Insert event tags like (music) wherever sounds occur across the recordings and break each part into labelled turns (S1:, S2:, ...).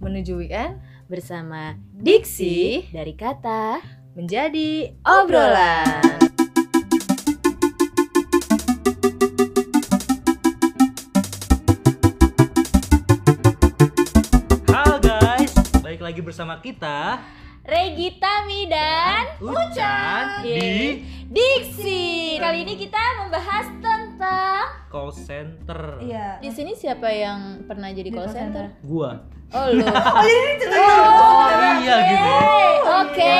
S1: menuju weekend
S2: bersama Diksi dari kata
S1: menjadi obrolan.
S3: Halo guys, balik lagi bersama kita
S2: Regita Midan
S3: Ucan di
S2: Diksi. Kali ini kita membahas tentang
S3: call center.
S1: Iya.
S2: di sini siapa yang pernah jadi call center?
S3: Gua.
S2: Oh lu. oh,
S3: iya gitu.
S2: Oke.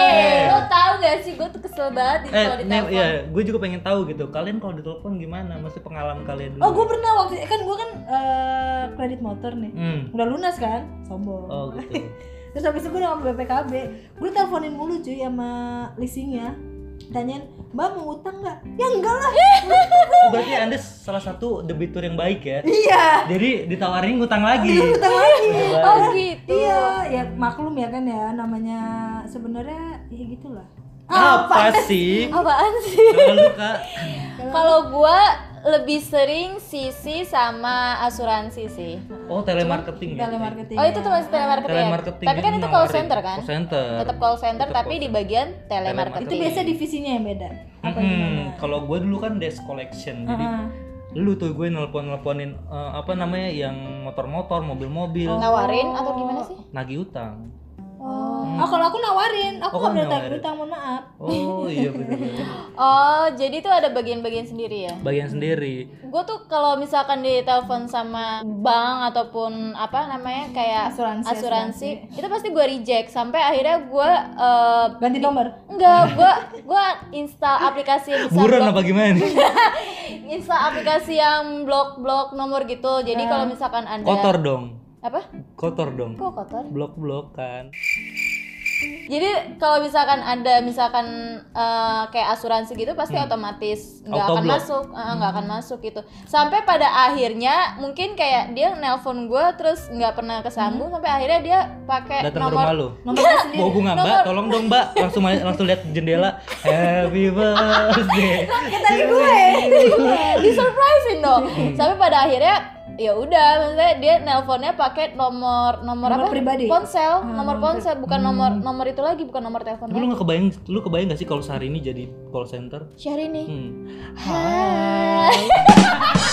S2: Lo tahu gak sih gue tuh kesel banget di
S3: Eh,
S2: kalau
S3: Nel,
S2: ditelepon.
S3: iya, gue juga pengen tahu gitu. Kalian kalau ditelepon gimana? Masih pengalaman kalian dulu?
S4: Oh gue pernah waktu kan gue kan eh, kredit motor nih
S3: Hmm.
S4: udah lunas kan sombong
S3: Oh gitu.
S4: terus habis itu gue udah sama BPKB gue teleponin mulu cuy sama leasingnya tanyain mbak mau utang nggak ya enggak lah
S3: Oh, berarti Anda salah satu debitur yang baik ya.
S4: iya
S3: Jadi ditawarin ngutang lagi. Iya.
S4: utang lagi
S2: Oh gitu.
S4: iya ya maklum ya kan ya namanya sebenarnya ya gitulah
S3: Apa sih?
S2: Apaan sih?
S3: Kalau Kak,
S2: Kalau gue lebih sering sisi sama asuransi sih.
S3: oh telemarketing ya.
S4: telemarketing
S2: Oh itu tuh masih telemarketing. ya?
S3: Telemarketing.
S2: Tapi kan
S3: jadi
S2: itu call
S3: nawarin.
S2: center kan?
S3: Call center.
S2: Tetap call center
S3: Tetap
S2: tapi
S3: call
S2: di bagian telemarketing.
S4: itu biasa divisinya yang beda apa
S3: Mm-mm.
S4: gimana
S3: Kalau gue dulu kan desk collection, jadi
S4: Heeh.
S3: lu tuh gue nelpon nelponin apa namanya yang motor-motor, mobil-mobil,
S2: nawarin atau gimana sih?
S3: nagih utang.
S4: Oh, oh, kalau aku nawarin, aku
S3: Hmm. Oh, kamu
S4: nggak boleh tagih
S3: nawarin.
S4: utang, mohon maaf.
S3: Oh iya benar.
S2: Oh jadi tuh ada bagian-bagian sendiri ya?
S3: Bagian sendiri.
S2: Gue tuh kalau misalkan ditelepon sama bank ataupun apa namanya kayak
S4: Asuransi,
S2: asuransi, itu pasti gue reject sampai akhirnya gue eh,
S4: Ganti nomor.
S2: Enggak, gua gua install aplikasi yang bisa
S3: Buron
S2: blok-
S3: apa gimana nih?
S2: install aplikasi yang blok-blok nomor gitu. Jadi kalau misalkan Anda
S3: Kotor dong.
S2: apa?
S3: Kotor dong. kan.
S2: Kok kotor?
S3: Blok-blokan.
S2: Jadi kalau misalkan Anda misalkan eh, kayak asuransi gitu pasti otomatis nggak akan
S3: Hmm. Autoblok. Hmm.
S2: masuk, eh, nggak akan masuk gitu. Sampai pada akhirnya mungkin kayak dia nelpon gua terus nggak pernah kesambung sampai akhirnya dia pakai
S3: Hmm. Datang ke
S2: Eh, nomor (laughs)
S3: rumah lu.
S4: Nomornya (laughs) sendiri.
S3: Bawa bunga, Mbak. Tolong dong, Mbak. Langsung ma- langsung lihat jendela. Happy birthday.
S4: Tadi gue.
S2: ya. di surprisein Iya, dong.
S3: Hmm.
S2: Sampai pada akhirnya ya udah maksudnya dia nelponnya pakai nomor nomor, apa?
S4: Nomor pribadi. Ah,
S2: Ponsel, nomor ponsel bukan nomor
S4: Hmm.
S2: nomor itu lagi bukan nomor
S3: Tapi lu
S2: teleponnya.
S3: gak kebayang, lu kebayang gak sih kalau sehari ini jadi call center?
S2: Syahrini.
S3: Hmm.
S2: Hai.
S3: (laughs)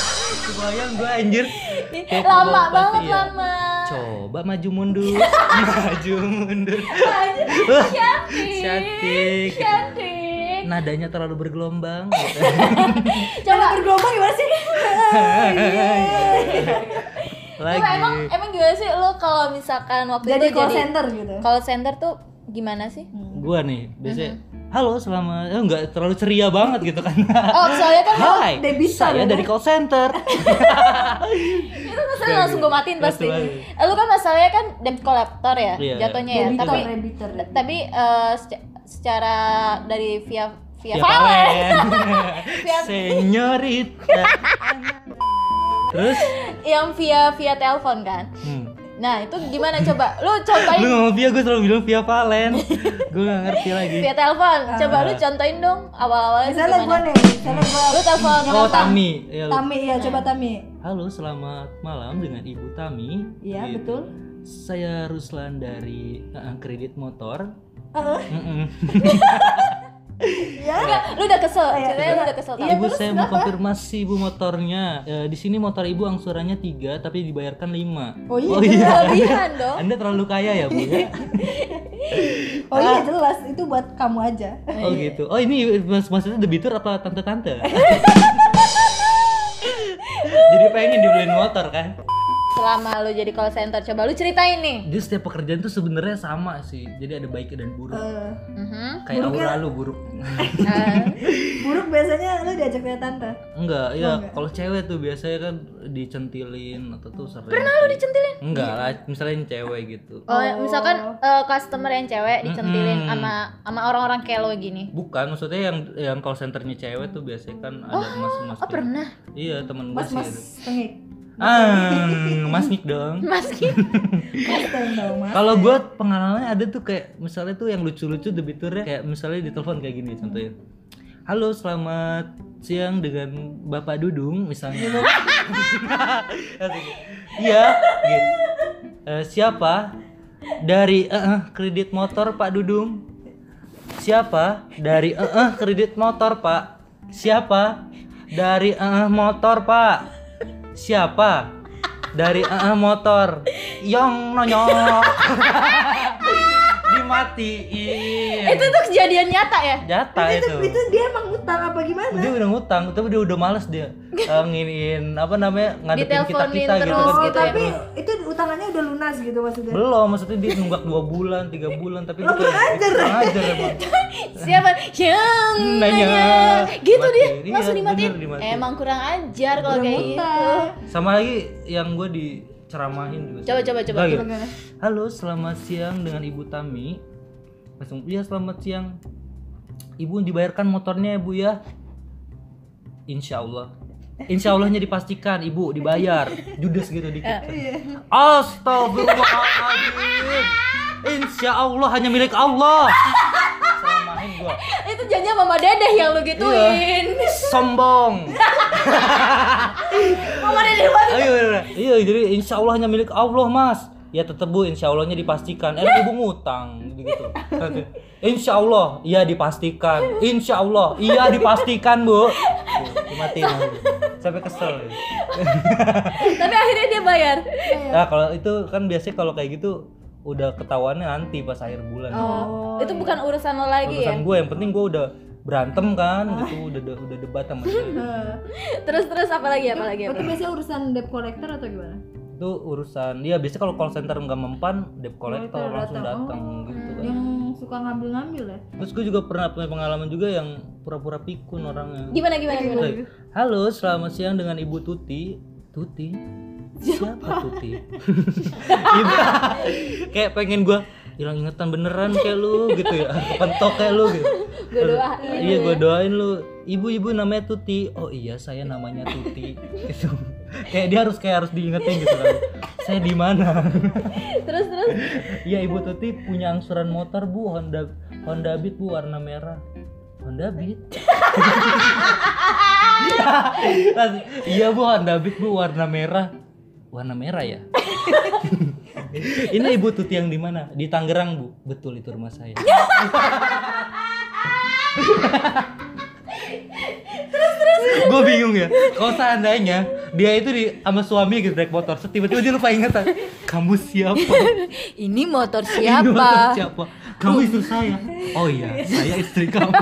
S3: Kebayang gue anjir. Kayak
S2: lama
S3: kebawa
S2: banget
S3: pasti ya.
S2: lama.
S3: Coba maju mundur,
S2: (laughs)
S3: maju mundur. Cantik.
S2: Cantik.
S3: Nadanya terlalu
S2: (laughs)
S3: bergelombang.
S4: Coba bergelombang gimana
S3: (laughs)
S4: sih?
S2: Lu emang
S3: Lagi.
S2: emang gimana sih lu kalau misalkan waktu
S4: Jadi
S2: itu
S4: call
S2: jadi
S4: center gitu.
S2: call center tuh gimana sih?
S3: Gua nih biasanya
S2: Mm-hmm.
S3: halo selama eh, nggak terlalu ceria banget gitu kan.
S2: (laughs) Oh, soalnya kan
S3: (laughs) Hai,
S4: Debisa,
S3: saya
S4: Bang.
S3: dari call
S2: (laughs)
S3: center.
S2: itu maksudnya langsung gue matiin pasti.
S3: Langsung
S2: Eh, Lu kan masalahnya kan debt collector ya
S3: Iya.
S2: jatuhnya ya.
S4: Debitor,
S2: Tapi
S4: debitor.
S2: tapi eh, sec- secara dari via via
S3: Ya
S2: Valen. (laughs)
S3: Valen. Senyorita. Terus
S2: yang via via telepon kan.
S3: hmm.
S2: Nah, itu gimana coba? Lu contohin
S3: Lu ngomong Via, gue selalu bilang Via
S2: (laughs)
S3: Valen Gue gak ngerti lagi
S2: via telepon. Coba lu contohin dong awal-awalnya
S4: Ah. Misalnya gue
S2: gimana.
S4: Eh, nih, misalnya gue
S2: Lu telepon
S3: Oh, Tami Ya, lu-
S4: Tami, ya coba Tami.
S3: Halo, selamat malam dengan Ibu Tami.
S4: Iya,
S3: Gitu.
S4: betul.
S3: Saya Ruslan dari eh, kredit motor.
S4: Heeh.
S3: Mm-mm.
S4: Iya.
S2: lu udah kesel.
S4: Iya.
S2: Ceritanya lu udah kesel. Tam.
S3: ibu saya mau konfirmasi ibu motornya. Eh, di sini motor ibu angsurannya 3 tapi dibayarkan 5.
S4: Oh iya,
S2: Kelebihan dong.
S3: (laughs) Anda terlalu kaya ya, Bu ya? Ah.
S4: Oh iya jelas, itu buat kamu aja.
S3: Oh gitu. Oh ini mas maksudnya debitur apa
S4: (laughs)
S3: tante-tante? Jadi pengen dibeliin motor kan?
S2: Selama lu jadi call center, coba lu ceritain nih.
S3: Jadi setiap pekerjaan tuh sebenarnya sama sih. Jadi ada baiknya dan buruk.
S4: Eh,
S2: (laughs) Mhm.
S3: Kayak aura lu buruk.
S2: Eh,
S4: buruk biasanya lu diajak lihat tante.
S3: Enggak, ya kalau cewek tuh biasanya kan dicentilin atau tuh sering. Pernah lu dicentilin? Enggak lah, misalnya yang cewek gitu.
S2: oh, misalkan eh, customer yang cewek dicentilin sama sama orang-orang kayak lo gini.
S3: Bukan, maksudnya yang yang call centernya cewek tuh biasanya kan ada mas-mas.
S2: Oh, pernah.
S3: Iya, temen gue
S4: Mas
S3: sih.
S4: mas
S3: ada.
S4: tengik.
S3: Ah, mas Nick dong.
S2: (laughs) Mas Ki.
S4: Mas tengik dong mas.
S3: Kalau buat pengalamannya ada tuh kayak misalnya tuh yang lucu-lucu debiturnya kayak misalnya ditelepon kayak gini contohnya. Halo, selamat siang dengan Bapak Dudung misalnya. (laughs) Iya, gitu. "Eh, siapa? dari eh eh, kredit motor Pak Dudung siapa dari eh eh, kredit motor Pak siapa dari eh eh, motor Pak siapa dari eh eh, motor yong nonyok (laughs) dimatiin
S2: Itu tuh kejadian nyata ya?
S3: jatah
S4: itu,
S3: itu
S4: itu dia emang utang apa gimana?
S3: dia udah ngutang tapi dia udah males dia eh, nginiin apa namanya ngadepin kita
S2: Diteleponin
S3: kita gitu
S2: terus
S3: kan
S4: Oh,
S2: gitu ya?
S4: tapi itu utangannya udah lunas gitu maksudnya.
S3: belum maksudnya dia nunggak dua bulan tiga bulan tapi
S4: Lo
S3: dia kayak,
S4: kurang ajar.
S3: kurang ajar emang
S2: Siapa? Yang
S3: Nanya.
S2: nanya. Gitu dia,
S3: Matiin,
S2: langsung
S3: iya,
S2: dimatiin.
S3: bener, dimatiin.
S2: Emang kurang ajar kalau
S4: Udah
S2: kayak gitu.
S4: utang.
S3: sama lagi yang gue diceramahin juga
S2: Coba coba coba.
S3: Lagi.
S2: Gimana?
S3: halo selamat siang dengan ibu Tami langsung iya selamat siang ibu dibayarkan motornya ya bu ya insya Allah Insya Allahnya dipastikan ibu dibayar judes gitu dikit
S2: Iya.
S3: Astagfirullahaladzim Insya Allah hanya milik Allah Ceramahin gua
S2: Itu janjian Mama Dedeh yang lu gituin.
S3: Iya.
S2: (laughs)
S3: Sombong
S2: Iya,
S3: Iya.
S2: Mama Dedeh banget.
S3: Ayo, ayo, ayo. Iya, jadi insya Allah hanya milik Allah, Mas. Ya tetep bu, insya Allahnya dipastikan. Eh, ibu ngutang
S2: (laughs)
S3: gitu. Insya Allah, iya dipastikan. Insya Allah, iya dipastikan bu. Tuh, Dimatiin lagi. sampai kesel. ya.
S2: Tapi akhirnya dia bayar.
S3: Nah kalau itu kan biasanya kalau kayak gitu udah ketahuannya nanti pas akhir bulan.
S2: Oh, itu bukan urusan lo lagi ya.
S3: Urusan gue yang penting gue udah berantem kan, gitu udah udah debat sama
S2: Hmm.
S3: dia.
S2: Terus terus apa lagi apa lagi apa?
S4: Itu biasanya urusan debt collector atau gimana?
S3: Itu urusan dia biasanya kalau call center nggak mempan, debt collector
S4: Collector
S3: langsung
S4: datang. iya.
S3: datang gitu kan.
S4: Yang suka ngambil-ngambil ya?
S3: Terus gue juga pernah punya pengalaman juga yang pura-pura pikun orangnya.
S2: Gimana gimana gimana?
S3: Tuh, Halo, selamat siang dengan Ibu Tuti. Tuti? Siapa Tuti? (laughs) Ibu kayak pengen gua hilang ingatan beneran kayak lu gitu ya. Pentok kayak lu gitu.
S2: Gue doain.
S3: Iya, gua doain lu. Ibu-ibu namanya Tuti. Oh iya, saya namanya Tuti. Gitu. kayak dia harus kayak harus diingetin gitu kan. Saya di mana?
S2: Terus terus
S3: Iya Ibu Tuti punya angsuran motor Bu Honda Honda Beat Bu warna merah. Honda Beat. Langsung, (laughs) iya Bu Honda Beat Bu warna merah. Warna merah ya. Ini Ibu Tuti yang di mana? Di Tangerang Bu. Betul itu rumah saya. gue bingung ya kalau seandainya dia itu di sama suami gitu naik motor terus tiba-tiba dia lupa ingatan kamu siapa
S2: ini motor
S3: Ini
S2: siapa?
S3: motor siapa? Kamu istri saya. Oh iya, saya istri kamu.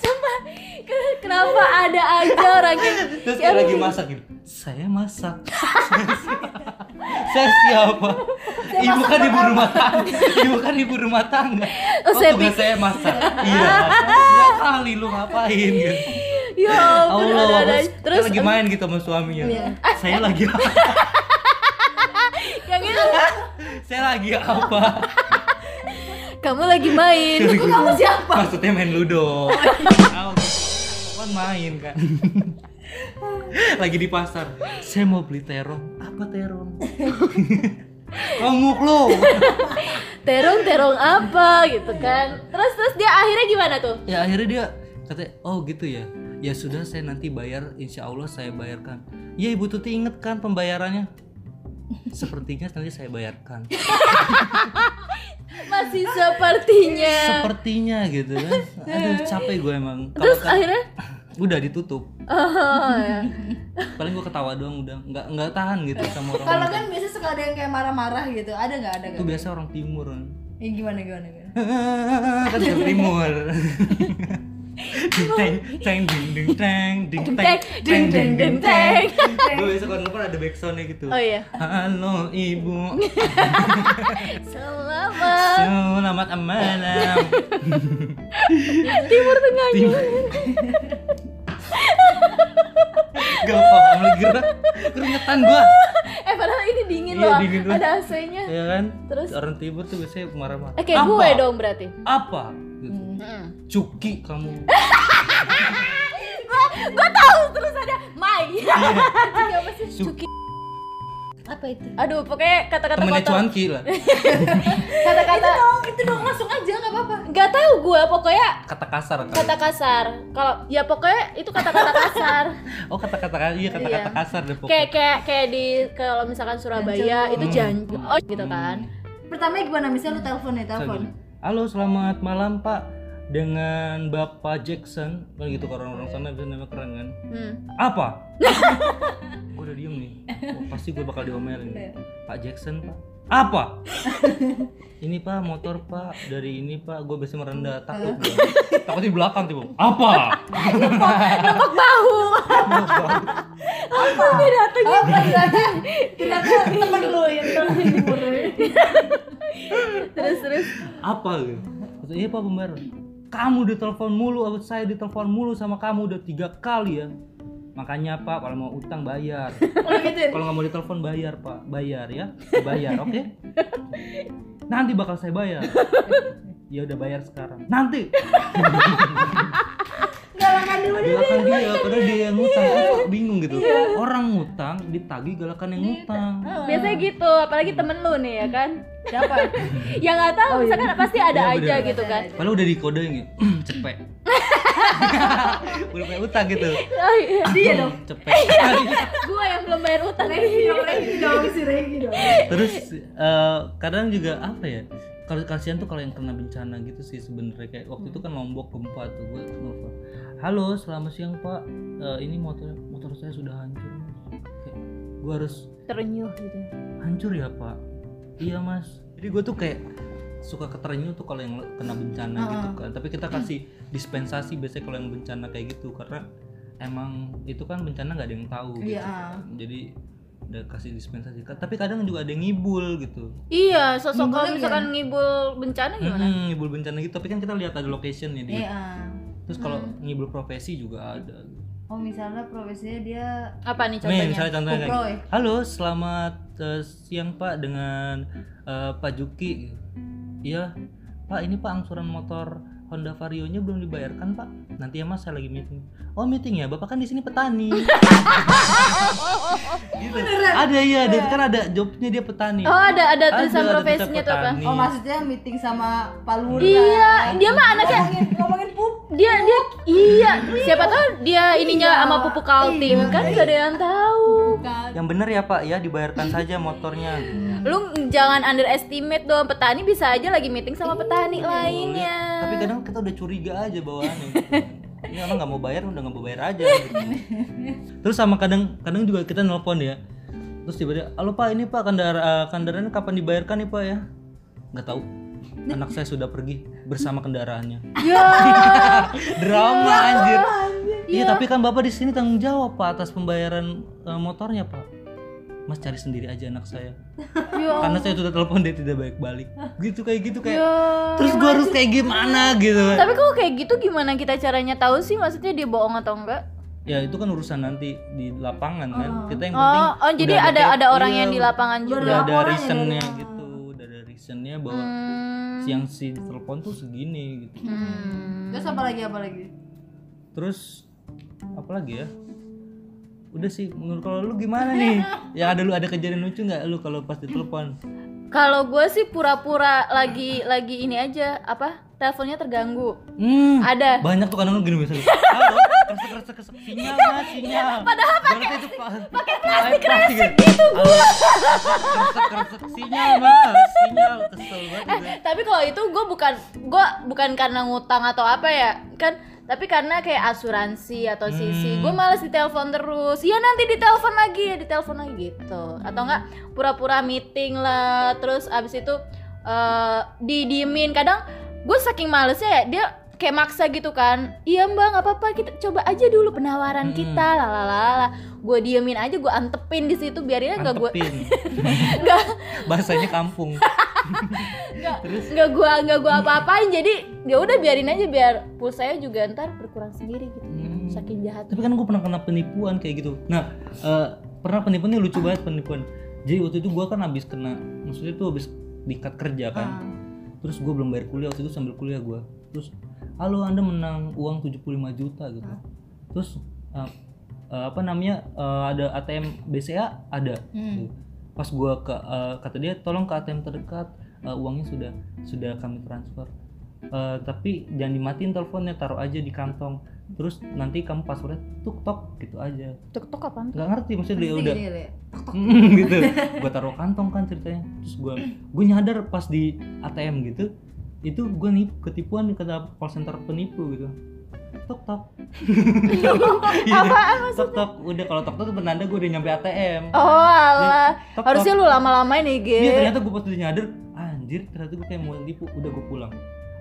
S2: Sumpah, ke- kenapa ada aja orang gitu? yang
S3: Terus dia lagi masak gitu. Saya masak. (laughs) saya siapa? Ibu kan ibu rumah tangga. Ibu kan ibu rumah tangga.
S2: Oh,
S3: Oh,
S2: saya
S3: tugas saya masak.
S2: (laughs)
S3: Iya. Ya kali lu ngapain gitu.
S2: ya ampun
S3: Allah,
S2: ada ada
S3: terus,
S2: terus Iya.
S3: lagi main gitu sama suaminya. Saya lagi (laughs)
S2: yang itu
S3: saya lagi apa?
S2: kamu lagi main
S3: Terus gitu.
S2: kamu siapa
S3: Maksudnya main ludo. Tahu kan main
S2: (laughs)
S3: kan. Lagi di pasar. Saya mau beli terong. Apa terong? (laughs) Komuk lu.
S2: terong terong apa gitu kan terus terus dia akhirnya gimana tuh
S3: Ya akhirnya dia kata, "Oh gitu ya." Ya sudah saya nanti bayar, insya Allah saya bayarkan. Ya Ibu Tuti inget kan pembayarannya? Sepertinya nanti saya bayarkan.
S2: masih sepertinya
S3: Sepertinya gitu
S2: (laughs)
S3: kan. Aduh capek gue emang. Kalau
S2: Iya. terus
S3: kan-
S2: akhirnya
S3: udah ditutup.
S2: oh, ya.
S3: (laughs) Paling gue ketawa doang udah nggak nggak tahan gitu sama orang.
S4: Kalau kan biasanya suka ada yang kayak marah-marah gitu. Ada nggak? Ada
S3: itu
S4: nggak?
S3: biasa orang timur kan (laughs)
S4: Ya, gimana gimana gimana?
S3: kan orang
S2: (laughs)
S3: timur Ding, teng teng ding ding teng ding teng
S2: Ding,
S3: teng ding ding teng
S2: ding, deng.
S3: gue biasa kalau depan ada backsoundnya gitu
S2: oh iya
S3: halo
S2: (laughs)
S3: ibu
S2: selamat
S3: selamat malam
S2: (laughs) timur tengah
S3: timur (laughs) gampang lagi gerak keringetan gua
S2: eh padahal ini dingin
S3: Iya,
S2: loh
S3: dingin loh.
S2: ada AC-nya
S3: ya kan
S2: Terus?
S3: orang timur tuh biasanya marah-marah
S2: eh kayak
S3: Apa?
S2: gue dong berarti
S3: apa gitu.
S2: Mm.
S3: cuki kamu
S2: (laughs)
S3: Iya.
S2: gue tahu terus ada Mai cuki apa sih
S3: Su-
S2: cuki
S1: Apa itu?
S2: Aduh, pokoknya kata-kata
S3: temennya
S2: kotor. (laughs)
S3: cuanki lah
S2: Kata-kata
S4: dong itu dong langsung aja nggak apa-apa
S2: nggak tahu gua pokoknya
S3: kata kasar kali.
S2: kata kasar. Kalau ya pokoknya itu kata-kata
S3: (laughs)
S2: kasar.
S3: oh kata kata iya kata kata
S2: Iya.
S3: kasar deh
S2: kayak
S3: pokoknya
S2: kayak kayak di kalau misalkan Surabaya
S4: Jancuk.
S2: itu
S3: Hmm.
S2: janjuk oh gitu kan
S4: pertama gimana misalnya lu telepon ya telepon
S3: Saya gini, halo selamat malam pak dengan Bapak Jackson kan gitu kalau orang-orang sana bisa nama keren kan
S2: hmm.
S3: apa gue udah diem nih Wah, pasti gue bakal diomelin nih. Pak Jackson pak apa ini pak motor pak dari ini pak gue biasanya merendah takut gua. takut di belakang tiba apa
S2: nembak bahu langsung dia dateng
S4: oh ternyata ternyata temen lu yang terhibur
S2: terus terus
S3: apa gitu Terus, iya pak pembayar kamu ditelepon mulu aku saya ditelepon mulu sama kamu udah tiga kali ya makanya pak kalau mau utang bayar
S4: lu gituin
S3: kalau nggak mau ditelepon bayar pak bayar ya bayar oke nanti bakal saya bayar ya udah bayar sekarang nanti
S4: galakan dulu deh
S3: galakan dia padahal dia yang ngutang Aku kok bingung gitu orang ngutang ditagih galakan yang ngutang
S2: biasanya gitu apalagi temen lu nih ya kan
S4: siapa
S2: (laughs) ya nggak tahu misalkan pasti ada
S3: Iya,
S2: aja
S3: bener.
S2: gitu kan
S3: padahal udah dikodein gitu (clears throat) cepet (laughs) udah kayak utang gitu
S2: oh, iya.
S3: (clears throat)
S4: dia dong
S3: cepet (laughs)
S2: gua yang belum bayar utang
S4: Regi dong Regi dong si Regi dong
S3: terus eh, kadang juga apa ya kalau kasihan tuh kalau yang kena bencana gitu sih sebenarnya kayak waktu itu kan lombok gempa tuh gue nelfon halo selamat siang pak Eh, ini motor motor saya sudah hancur Kayak, gue harus
S2: terenyuh gitu
S3: hancur ya pak iya mas jadi gue tuh kayak suka keterenyuh tuh kalau yang kena bencana gitu kan tapi kita kasih dispensasi biasanya kalau yang bencana kayak gitu karena emang itu kan bencana nggak ada yang tahu gitu
S4: Iya.
S3: kan. jadi udah kasih dispensasi Ka- tapi kadang juga ada yang ngibul gitu
S2: iya sosok kalau
S4: Ngibulnya
S2: misalkan ngibul bencana gimana
S3: Mm-mm, ngibul bencana gitu tapi kan kita lihat ada locationnya di
S4: iya Hmm.
S3: terus kalau ngibul profesi juga ada
S4: oh misalnya profesinya dia
S2: apa nih
S3: Hmm. Nih,
S2: contohnya
S3: misalnya contohnya kayak
S4: Kuproy.
S3: gini. Halo, selamat eh, siang Pak dengan eh, Pak Juki. Iya, Pak ini Pak angsuran motor Honda Vario-nya belum dibayarkan Pak. Nanti ya Mas saya lagi meeting. Oh meeting ya, Bapak kan di sini
S2: (laughs)
S3: petani. gitu. Ada ya, dia kan ada jobnya dia petani.
S2: Iya. oh ada ada
S3: Ada,
S2: tulisan
S3: ada
S2: profesinya
S3: tetap
S2: tuh apa
S3: petani.
S4: oh maksudnya meeting sama Pak Lurah
S2: Iya, dia mah anaknya-
S4: ngomongin, ngomongin pup
S2: dia dia iya siapa tahu dia ininya
S4: Oh. Iya.
S2: sama pupuk kaltim
S4: Iya.
S2: kan gak ada yang tahu
S4: bukan
S3: Yang bener ya Pak ya, dibayarkan saja motornya.
S2: lu jangan underestimate dong petani bisa aja lagi meeting
S4: Iya,
S2: sama petani lainnya
S3: Tapi kadang kita udah curiga aja bawaannya. gitu. Ini orang nggak mau bayar udah nggak mau bayar aja. gitu. Terus sama kadang kadang juga kita nelpon ya. Terus tiba-tiba, halo pak ini pak kendara eh, kendaraannya kapan dibayarkan nih pak ya? Nggak tahu. Anak saya sudah pergi bersama kendaraannya. (laughs) Drama anjir. Iya tapi kan bapak di sini tanggung jawab pak atas pembayaran eh, motornya pak. Mas cari sendiri aja anak saya. Karena saya sudah telepon dia tidak balik-balik. Gitu kayak gitu
S2: Ya
S3: kayak. Terus gua harus kayak gimana gitu. kan.
S2: tapi kalau kayak gitu gimana kita caranya tahu sih maksudnya dia bohong atau enggak
S3: ya itu kan urusan nanti di lapangan kan kita yang penting
S2: oh oh jadi
S3: udah
S2: ada ada orang
S3: iya,
S2: yang di lapangan juga
S3: udah ada
S4: laporannya
S3: reasonnya
S4: dari-
S3: gitu udah ada reasonnya bahwa
S2: Hmm.
S3: siang si telepon tuh segini gitu
S2: Hmm.
S4: terus apa lagi apa lagi
S3: terus apa lagi ya udah sih menurut kalau lu gimana
S2: (laughs)
S3: nih yang ada lu ada kejadian lucu nggak lu kalau pas ditelepon
S2: Hmm. kalau gue sih pura-pura lagi lagi ini aja apa teleponnya terganggu
S3: hmm
S2: ada
S3: banyak tuh kadang lu gini misalnya halo kresek kresek kresek sinyal mas sinyal padahal pakai pakai plastik kresek gitu gua kresek kresek sinyal mas sinyal kesel
S2: Eh,
S3: banget gua.
S2: tapi kalau itu gue bukan gue bukan karena ngutang atau apa ya kan tapi karena kayak asuransi atau
S3: Hmm.
S2: sisi gue males ditelepon terus ya nanti ditelepon lagi ya ditelepon lagi gitu atau enggak pura-pura meeting lah terus abis itu eh didiemin kadang gue saking malesnya ya dia kayak maksa gitu kan iya mbak nggak apa-apa kita coba aja dulu penawaran
S3: Hmm.
S2: kita lalalala gue diemin aja gue antepin di situ biarin aja (laughs) gue
S3: Antepin. bahasanya kampung
S2: nggak nggak gua nggak gua apa-apain jadi ya udah biarin aja biar pulsanya juga ntar berkurang sendiri gitu
S3: Hmm.
S2: saking jahat
S3: tapi kan gue pernah kena penipuan kayak gitu nah eh, pernah penipuan ini lucu banget penipuan jadi waktu itu gue kan habis kena maksudnya tuh habis dikat kerja kan
S4: Ah.
S3: terus gue belum bayar kuliah waktu itu sambil kuliah gue terus halo anda menang uang 75 juta gitu
S2: Hmm.
S3: terus eh, eh, apa namanya eh, ada ATM BCA ada Gitu. pas gua ke eh, kata dia tolong ke ATM terdekat eh, uangnya sudah sudah kami transfer Eh, tapi jangan dimatiin teleponnya taruh aja di kantong terus nanti kamu passwordnya tuk tok gitu aja
S2: Tuk tuk apaan?
S3: nggak ngerti maksudnya dia
S1: Pasti
S3: udah (laughs)
S1: gini kali ya.
S3: Mm, gitu gue taruh kantong kan ceritanya terus gue gue nyadar pas di ATM gitu itu gue nih ketipuan kena call center penipu gitu tok
S2: (laughs)
S3: tok Iya.
S2: Apaan?
S3: tok tok udah kalau tok tok itu penanda gue udah nyampe ATM
S2: Oh Allah.
S3: tok
S2: Harusnya lu lama-lamain IG.
S3: iya ternyata gue pas udah nyadar anjir ternyata gue kayak mau tipu udah gue pulang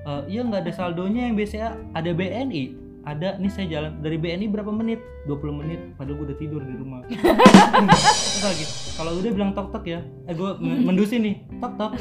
S3: Eh, iya nggak ada saldonya yang biasanya ada BNI ada nih saya jalan dari BNI berapa menit 20 menit padahal gue udah tidur di rumah
S2: (laughs)
S3: Terus lagi kalau udah bilang tok tok ya eh gue
S2: (laughs)
S3: mendusin nih tok tok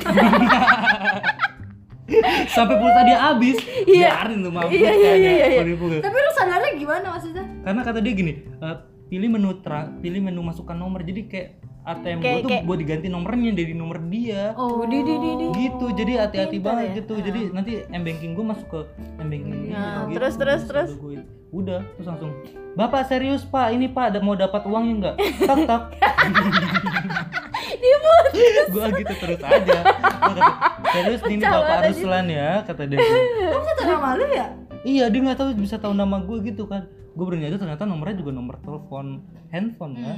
S3: (laughs) sampai pulsa dia habis
S2: Iya.
S3: biarin tuh mampus
S2: Iya, iya, iya, iya.
S3: penipu gua.
S4: Tapi lu sadarnya gimana maksudnya?
S3: karena kata dia gini eh, pilih menu tra- pilih menu masukkan nomor jadi kayak ATM gue
S2: Kayak-
S3: tuh
S2: kayak-
S3: buat diganti nomornya dari nomor dia
S4: Oh,
S2: di, di, di, di.
S3: gitu jadi hati-hati
S2: Pintar
S3: banget
S2: ya.
S3: gitu jadi nanti m banking gue masuk ke m banking gue
S2: Nah,
S3: gitu.
S2: terus, terus, terus.
S3: udah gue- udah terus langsung bapak serius pak ini pak ada mau dapat uangnya nggak tak
S2: (laughs)
S3: tak gue gitu terus aja Gua kata, serius nih ini
S2: Pecah
S3: bapak
S2: banget
S3: Ruslan ya kata dia gitu.
S4: Kamu satu nama lu ya?
S3: iya dia nggak tahu bisa tahu nama gue gitu kan gue baru nyadar ternyata nomornya juga nomor telepon handphone kan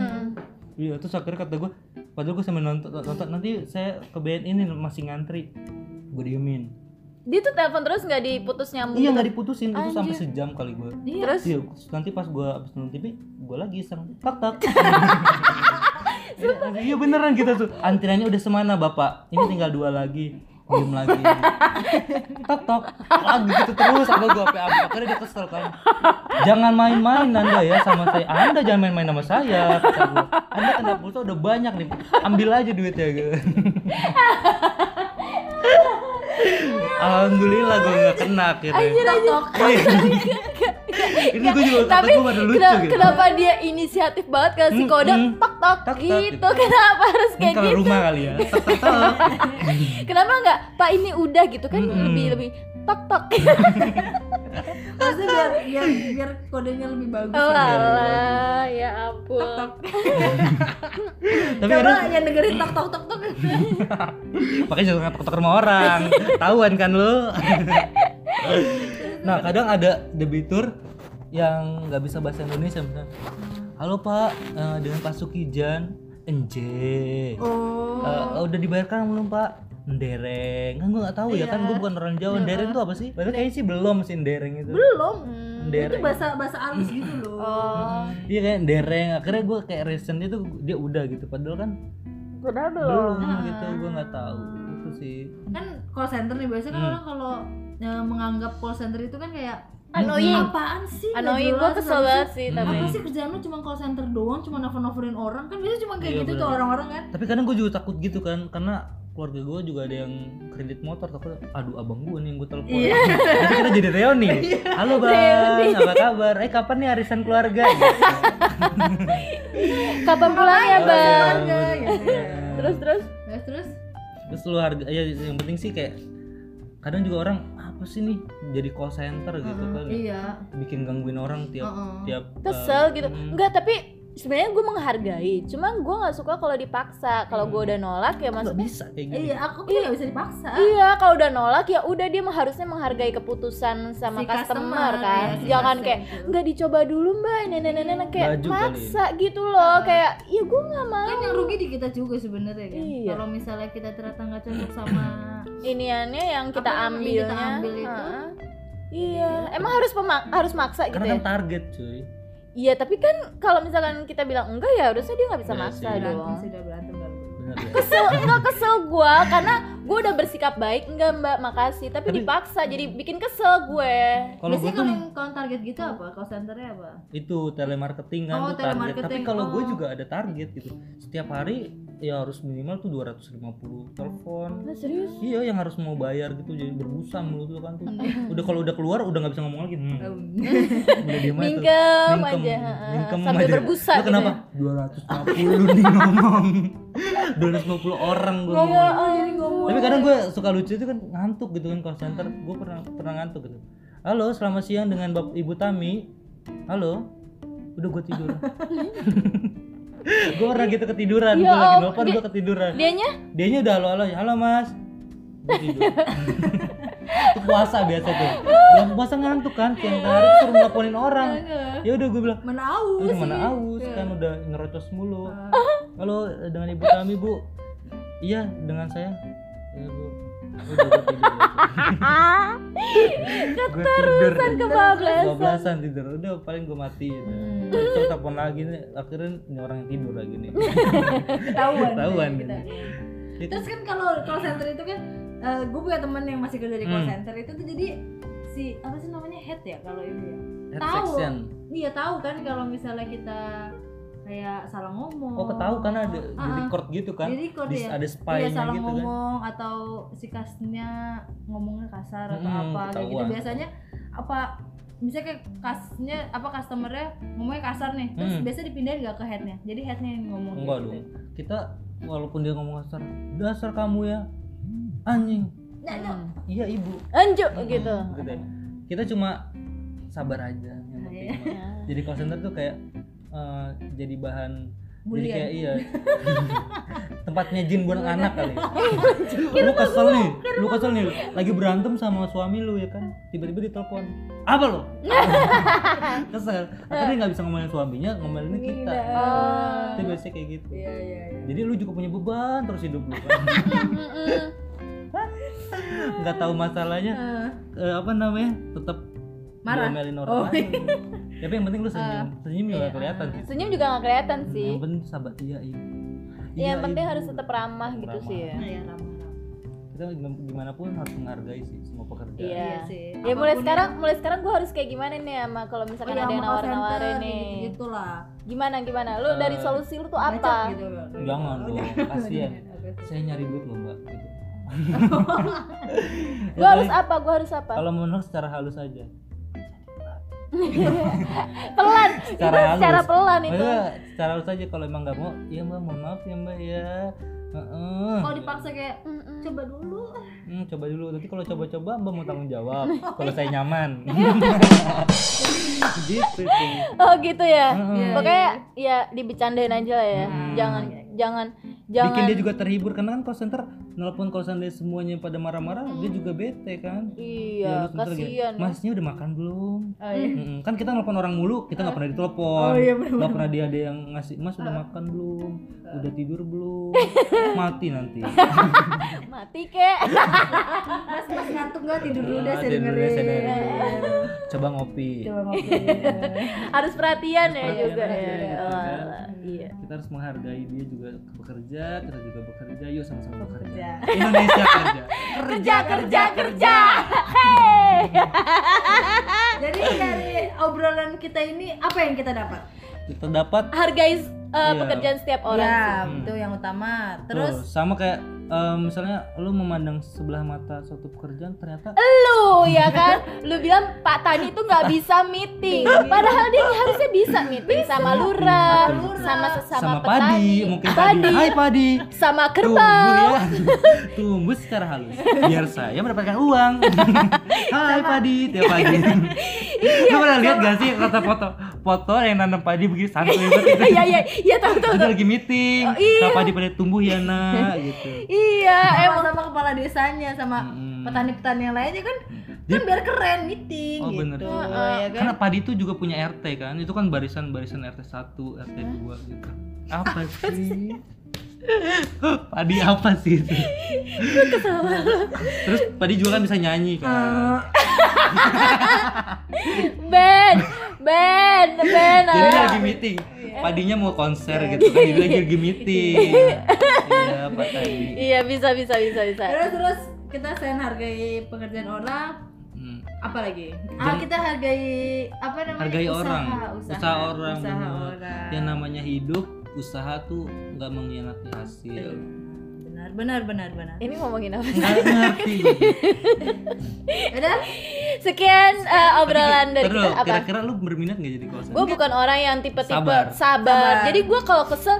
S3: Iya, terus akhirnya kata gue, padahal gue sambil nonton, nonton nanti saya ke BN ini masih ngantri. Gue diemin.
S2: Dia tuh telepon terus nggak diputus nyambung.
S3: Iya
S2: gitu.
S3: nggak diputusin itu sampai
S2: Anjir.
S3: sejam kali gue.
S2: Terus
S3: Iya, terus nanti pas gue abis nonton TV, gue lagi iseng tak tak. Iya beneran gitu tuh. Antreannya udah semana bapak. Ini tinggal dua lagi. Diem lagi. tak tak. Lagi gitu terus sampai gue apa akhirnya dia kesel kan. Jangan main-main Anda ya sama saya. Anda jangan main-main sama saya. kata gua. Anda kena pulsa udah banyak nih. Ambil aja duitnya gitu. Alhamdulillah gue gak kena akhirnya.
S2: Tok-tok.
S3: Iya. Ini gue juga tapi
S2: Iya. Tapi
S3: gue pada lucu
S2: kena-
S3: gitu.
S2: kenapa dia inisiatif banget kasih
S3: Hmm,
S2: kode
S3: hmm.
S2: tok tok
S3: Tok, tok,
S2: gitu
S3: gitu.
S2: (laughs) kenapa harus
S3: Mungkin
S2: kayak
S3: kalau
S2: gitu
S3: rumah
S4: (laughs)
S3: kali ya. Tok, tok, tok.
S2: kenapa nggak pak ini udah gitu kan
S3: Hmm. Iya,
S2: lebih lebih tok tok (laughs)
S4: Maksudnya biar, biar, biar kodenya lebih bagus.
S2: oh
S3: iya,
S2: Allah ya ampun
S3: Tapi
S4: Coba
S3: ada
S4: yang dengerin tok tok tok
S2: (laughs)
S4: tok.
S3: makanya jangan tok tok sama orang. Tahuan kan
S4: (laughs)
S3: lu. nah, kadang ada debitur yang nggak bisa bahasa Indonesia misalnya. Halo Pak, eh, dengan Pak Sukijan, enje.
S4: Oh.
S3: Eh, udah dibayarkan belum Pak? Ndereng, kan gue nggak tahu ya kan
S4: Iya.
S3: gue bukan orang Jawa. Ndereng itu apa sih? Padahal kayaknya sih belum sih ndereng itu.
S4: Belum. Itu
S3: Ndereng.
S4: bahasa bahasa halus gitu loh.
S2: oh
S3: Iya kayak dereng. Akhirnya gue kayak recent itu dia udah gitu. Padahal kan
S2: udah
S3: belum gitu. Gue nggak tahu itu sih.
S4: Kan call center nih biasanya kan
S3: Hmm.
S4: orang kalau eh, menganggap call center itu kan kayak
S2: annoying
S4: apaan sih? Nggak
S2: annoying
S4: jelas,
S2: gue kesel
S4: nggak
S2: banget sih
S3: Hmm.
S2: tapi
S4: apa sih kerjaan lu cuma call center doang cuma nelfon nelfonin orang kan biasanya cuma kayak
S3: Iya,
S4: gitu tuh
S3: bener.
S4: orang-orang kan
S3: Tapi kadang gue juga takut gitu kan, karena keluarga gue juga ada yang kredit motor takut aduh abang gue nih yang gue telepon nanti kita jadi reuni halo bang apa kabar eh kapan nih arisan keluarga Gitu.
S2: kapan pulang
S3: Iya,
S2: ya bang
S4: keluarga gitu
S2: terus terus
S4: terus terus
S3: terus lu harga ya yang penting sih kayak kadang juga orang apa sih nih jadi call center gitu kan
S4: iya
S3: bikin gangguin orang tiap
S4: Heeh.
S3: tiap
S2: kesel gitu
S3: hmm.
S2: enggak tapi sebenarnya gue menghargai cuma gue nggak suka kalau dipaksa kalau gue udah nolak ya
S3: nggak
S2: maksudnya
S3: bisa kayak gitu
S4: iya aku tuh nggak bisa dipaksa
S2: Iya, kalau udah nolak ya udah dia mah harusnya menghargai keputusan sama
S4: Si
S2: customer,
S4: customer,
S2: kan.
S4: iya, si
S2: Jangan
S4: customer
S2: kayak
S4: gitu.
S2: nggak dicoba dulu mbak, nenek-nenek kayak
S3: Baju kali ya.
S2: maksa gitu loh, kayak ya gue nggak mau.
S4: kan yang rugi di kita juga sebenarnya kan
S2: Iya.
S4: kalau misalnya kita ternyata nggak cocok sama
S2: Iniannya yang kita
S4: Apa yang
S2: ambilnya.
S4: kita ambil itu?
S2: ha-ha. Iya, emang harus pemak harus maksa gitu
S3: karena
S2: ya.
S3: kan target cuy
S2: Iya, tapi kan kalau misalkan kita bilang enggak ya harusnya dia nggak bisa
S3: Iya
S2: maksa
S3: sih.
S2: dong.
S4: berantem sudah berantem berantem
S3: bener
S4: (laughs)
S3: ya
S2: Kesel, enggak kesel gue karena gue udah bersikap baik enggak mbak makasih tapi,
S3: Tapi-
S2: dipaksa jadi bikin kesel gue
S3: kalau gue
S4: biasanya
S3: tuh
S4: kalau yang kalau target gitu apa call centernya apa
S3: itu telemarketing kan
S4: Oh,
S3: tuh target tapi
S4: telemarketing.
S3: kalau gue
S4: Oh.
S3: juga ada target gitu setiap hari ya harus minimal tuh 250 telepon
S2: Nah, serius?
S3: iya yang harus mau bayar gitu jadi berbusa mulut lu kan tuh (laughs) udah kalau udah keluar udah nggak bisa ngomong lagi (laughs)
S4: Oh,
S3: hmm. udah diem aja tuh.
S2: Mingkem aja, heeh.
S3: mingkem
S2: sambil
S3: aja.
S2: berbusa gitu ya.
S3: Lu kenapa?
S4: ya?
S3: 250 nih ngomong (laughs) 250 orang gue
S2: Gitu. ya. ngomong.
S3: tapi kadang gue suka lucu itu kan ngantuk gitu kan call center gue pernah pernah ngantuk gitu halo selamat siang
S4: (laughs)
S3: dengan bapak ibu Tami halo udah gue tidur gue pernah gitu ketiduran
S2: Ya
S3: gue lagi
S2: ampun,
S3: nelfon
S2: dia-
S3: gue ketiduran
S2: Dianya
S3: dianya udah halo halo halo mas Gua
S4: (laughs)
S3: tidur itu puasa biasa tuh Bulan puasa ngantuk kan tiap hari suruh nelfonin orang ya udah gue bilang
S4: Mana aus
S3: udah mana
S4: sih.
S3: aus
S4: Iya.
S3: kan udah ngerocos mulu
S4: Ah.
S3: halo eh, dengan ibu kami bu iya dengan saya iya bu Udah, gua
S4: (laughs)
S3: tidur.
S2: Ah,
S3: Gua tidur.
S2: kebablasan.
S3: bablasan tidur udah paling gue mati
S4: Hmm.
S3: terus telepon lagi nih akhirnya ini orang yang tidur lagi nih
S4: (laughs) ketahuan
S3: (laughs) Ketahuan.
S4: Kita.
S3: Gitu.
S4: terus kan kalau call center itu kan gue punya temen yang masih kerja di call
S3: Hmm.
S4: center itu tuh jadi si apa sih namanya head ya kalau itu ya
S3: Head
S4: Tahu.
S3: section.
S4: dia tahu kan kalau misalnya kita kayak salah ngomong
S3: Hmm. oh ketahu kan ada di
S4: Ah,
S3: record gitu kan
S4: di record
S3: Di-
S4: ya
S3: ada
S4: dia
S3: spy
S4: salah
S3: gitu kan
S4: ngomong atau si kasnya ngomongnya kasar atau
S3: Hmm,
S4: apa kayak gitu
S3: ketahuan.
S4: biasanya apa misalnya kayak kasnya apa customernya ngomongnya kasar nih terus
S3: Hmm.
S4: biasanya dipindahin gak ke headnya jadi headnya yang ngomong
S3: enggak
S4: gitu.
S3: dong kita walaupun dia ngomong kasar dasar kamu ya anjing
S4: Nah, nah.
S3: iya ibu
S2: Anjuk
S4: Oh,
S2: gitu.
S3: ya. kita cuma sabar aja yang penting
S4: Iya.
S2: Ya.
S3: mah. jadi call center tuh kayak eh, jadi bahan jadi
S4: Bulian.
S3: kayak iya (laughs) tempatnya jin buat anak kali
S4: (laughs)
S3: ya.
S4: Iya,
S3: lu kesel nih lu kesel nih lagi berantem sama suami lu ya kan tiba-tiba ditelepon apa
S4: (laughs)
S3: lo kesel akhirnya nggak bisa ngomelin suaminya ngomelin kita
S2: Oh.
S3: itu biasanya kayak gitu
S4: Iya iya iya.
S3: jadi lu juga punya beban terus hidup lu (laughs) kan
S2: Mm-mm.
S3: nggak tahu masalahnya
S4: Eh,
S3: eh, apa namanya tetap
S4: Marah.
S3: ngomelin orang
S4: Oh.
S3: tapi yang penting lu senyum senyum juga kelihatan sih
S2: Eh, iya. Senyum juga nggak kelihatan sih.
S3: yang penting sabar iya iya
S2: Ya, yang
S3: Iya,
S2: penting
S3: Ibu.
S2: harus tetap ramah gitu
S3: Ramah.
S2: sih ya.
S4: Iya ramah.
S3: kita gim- gimana pun harus menghargai sih semua pekerjaan
S2: Iya.
S4: Iya sih.
S2: Ya mulai
S4: Apapun
S2: sekarang, mulai sekarang gue harus kayak gimana nih sama kalau
S4: Oh,
S2: misalkan
S4: iya,
S2: ada yang
S4: sama call center
S2: nawar-nawarin nih.
S4: gitu lah.
S2: Gimana gimana? Lu
S3: Eh,
S2: dari solusi lu tuh
S4: Bacot
S2: apa?
S4: Gitu.
S3: jangan
S4: Oh,
S3: dong
S2: Iya.
S3: kasihan ya.
S4: jangan.
S3: saya nyari duit loh mbak
S2: (laughs)
S3: gitu. Ya,
S2: Gue harus
S3: paling-
S2: apa? Gue harus apa?
S3: kalau menolak secara halus aja
S2: Pelan.
S3: Secara
S2: Itu secara
S3: halus. Eh.
S2: pelan itu.
S3: Maksudnya secara halus aja kalau emang nggak mau iya mbak mohon maaf ya mbak ya Heeh.
S4: Kalau dipaksa kayak
S2: Mm-mm.
S4: coba dulu.
S3: Hmm, coba dulu nanti kalau coba-coba mbak mau tanggung (laughs) jawab kalau saya nyaman (laughs) gitu sih
S2: Oh gitu ya.
S3: Heeh.
S2: Pokoknya ya dibecandain aja lah ya.
S3: Hmm.
S2: Jangan jangan
S3: bikin
S2: jangan.
S3: dia juga terhibur karena kan call center nelpon call center semuanya pada marah-marah dia juga bete kan
S2: Iya,
S3: Ya, lu sebentar lagi,
S2: kasihan.
S3: masnya udah makan belum
S4: Oh, iya.
S3: Mm-mm. kan kita nelpon orang mulu kita nggak pernah ditelepon
S4: Oh, iya, bener-bener. Ah.
S3: nggak pernah dia ada yang ngasih mas udah makan belum udah tidur
S4: (laughs)
S3: belum mati nanti
S2: Mati kek.
S4: Mas mas ngantuk nggak tidur dulu deh
S3: Ah,
S4: saya
S3: tidur dulu, saya
S4: dengerin.
S3: dengerin. coba ngopi
S4: Coba ngopi.
S2: harus perhatian ya
S3: Perhatian
S2: juga
S3: aja
S2: ya.
S3: gitu
S2: Oh,
S3: kan.
S2: iya.
S3: kita harus menghargai dia juga bekerja kita juga bekerja yuk sama-sama
S4: Bekerja.
S3: bekerja
S2: (laughs)
S3: Indonesia kerja
S2: Kerja kerja kerja. Hey.
S4: Jadi dari obrolan kita ini apa yang kita dapat?
S3: kita dapat
S2: Hargai eh,
S3: Iya.
S2: pekerjaan setiap orang. sih.
S4: ya, itu yang utama.
S3: terus
S4: Terus
S3: sama kayak eh, misalnya lu memandang sebelah mata suatu pekerjaan ternyata
S2: Lu ya kan, lu bilang Pak Tani tuh nggak bisa meeting,
S3: Iya.
S2: padahal dia harusnya bisa meeting sama lurah,
S3: Betul.
S2: sama sesama
S3: Iya. sama, padi
S2: petani,
S3: mungkin padi. hai padi
S2: sama kerbau.
S3: tumbuh ya (laughs) tumbuh secara halus biar saya mendapatkan uang
S2: (laughs)
S3: hai padi tiap pagi
S2: Iya,
S3: lu pernah lihat gak sih kata foto foto yang nanam padi
S2: (laughs)
S3: begini santuy banget
S2: Iya iya iya tahu tahu.
S3: itu
S2: tahu.
S3: lagi meeting
S2: Oh, iya.
S3: kenapa dia pada tumbuh ya
S2: (laughs)
S3: nak gitu
S2: Iya,
S4: sama,
S2: emang
S4: sama kepala desanya sama
S3: Mm.
S4: petani-petani yang lainnya kan kan
S3: Dia-
S4: biar keren meeting
S3: oh
S4: gitu.
S3: bener
S4: ya kan?
S3: karena padi itu juga punya RT kan itu kan barisan barisan RT 1 RT 2 gitu
S2: (laughs)
S3: apa sih padi apa sih itu terus padi juga kan bisa nyanyi
S2: Ah.
S3: kan
S2: Ben, Ben, Ben.
S3: jadi dia
S2: ah.
S3: lagi meeting padinya mau konser gitu kan jadi lagi lagi meeting iya pak tadi
S2: Iya bisa bisa bisa bisa.
S4: Terus terus kita selain hargai pekerjaan orang,
S3: Hmm.
S4: apa lagi? Ah,
S3: Jadi-
S4: kita hargai apa namanya?
S3: hargai
S4: usaha,
S3: orang
S4: usaha,
S3: orang
S4: usaha
S3: bener.
S4: orang.
S3: yang namanya hidup usaha tuh nggak mengkhianati hasil
S4: Benar, benar, benar, benar.
S2: Ini ngomongin apa?
S3: nggak ngerti gua.
S4: Udah?
S2: Sekian eh, (laughs) obrolan dari
S3: Terus,
S2: kita apa?
S3: kira-kira lu berminat nggak jadi call
S2: Gue
S3: center?
S2: bukan orang yang tipe-tipe
S3: Sabar.
S2: sabar. Jadi gue kalau kesel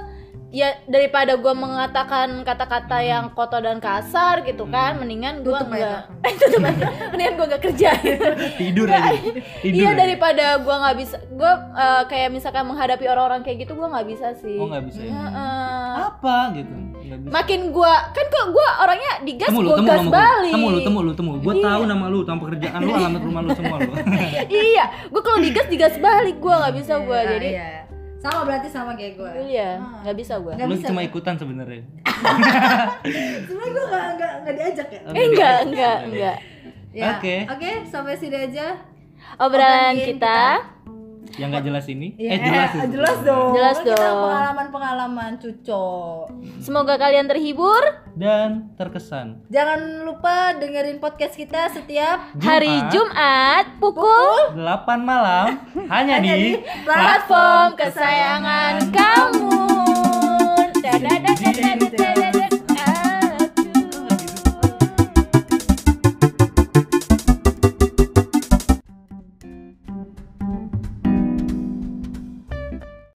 S2: ya daripada gua mengatakan kata-kata yang kotor dan kasar gitu kan mendingan gua
S1: Tutup aja.
S2: nggak (laughs) tutup aja. mendingan gua nggak kerja gitu
S3: tidur aja tidur
S2: (laughs) iya
S3: aja.
S2: daripada gua nggak bisa gua eh, kayak misalkan menghadapi orang-orang kayak gitu gua nggak bisa sih Eh,
S3: oh nggak bisa ya.
S2: Heeh.
S3: apa gitu nggak bisa
S2: makin gua kan kok gua orangnya digas
S3: temu lu
S2: gua
S3: temu lu
S2: gas
S3: sama gua.
S2: balik
S3: temu lu temu lu temu gue tahu nama lu nama pekerjaan lu alamat rumah lu semua lu
S2: iya gua kalau digas digas balik gua nggak bisa gua
S1: Ah,
S2: jadi
S1: iya. Ah. sama berarti sama kayak gue
S2: iya nggak bisa gua
S4: Nggak
S3: (laughs) lu
S4: bisa,
S3: cuma
S4: kan?
S3: ikutan sebenarnya
S4: sebenarnya gue nggak nggak nggak diajak ya Iya.
S2: eh enggak enggak
S1: Iya.
S3: Iya.
S2: enggak
S1: Ya.
S3: Oke.
S1: oke sampai sini aja
S2: obrolan
S1: Obrolan
S2: kita
S3: yang nggak jelas ini
S4: Iya,
S3: eh jelas itu.
S4: jelas dong
S2: Jelas
S4: Kita
S2: dong.
S4: pengalaman-pengalaman cucok
S2: semoga kalian terhibur
S3: dan terkesan
S4: Jangan lupa dengerin podcast kita setiap
S2: hari Jumat pukul
S3: 8 malam hanya di
S2: platform kesayangan kamu. Dadadadadadadada. Ah.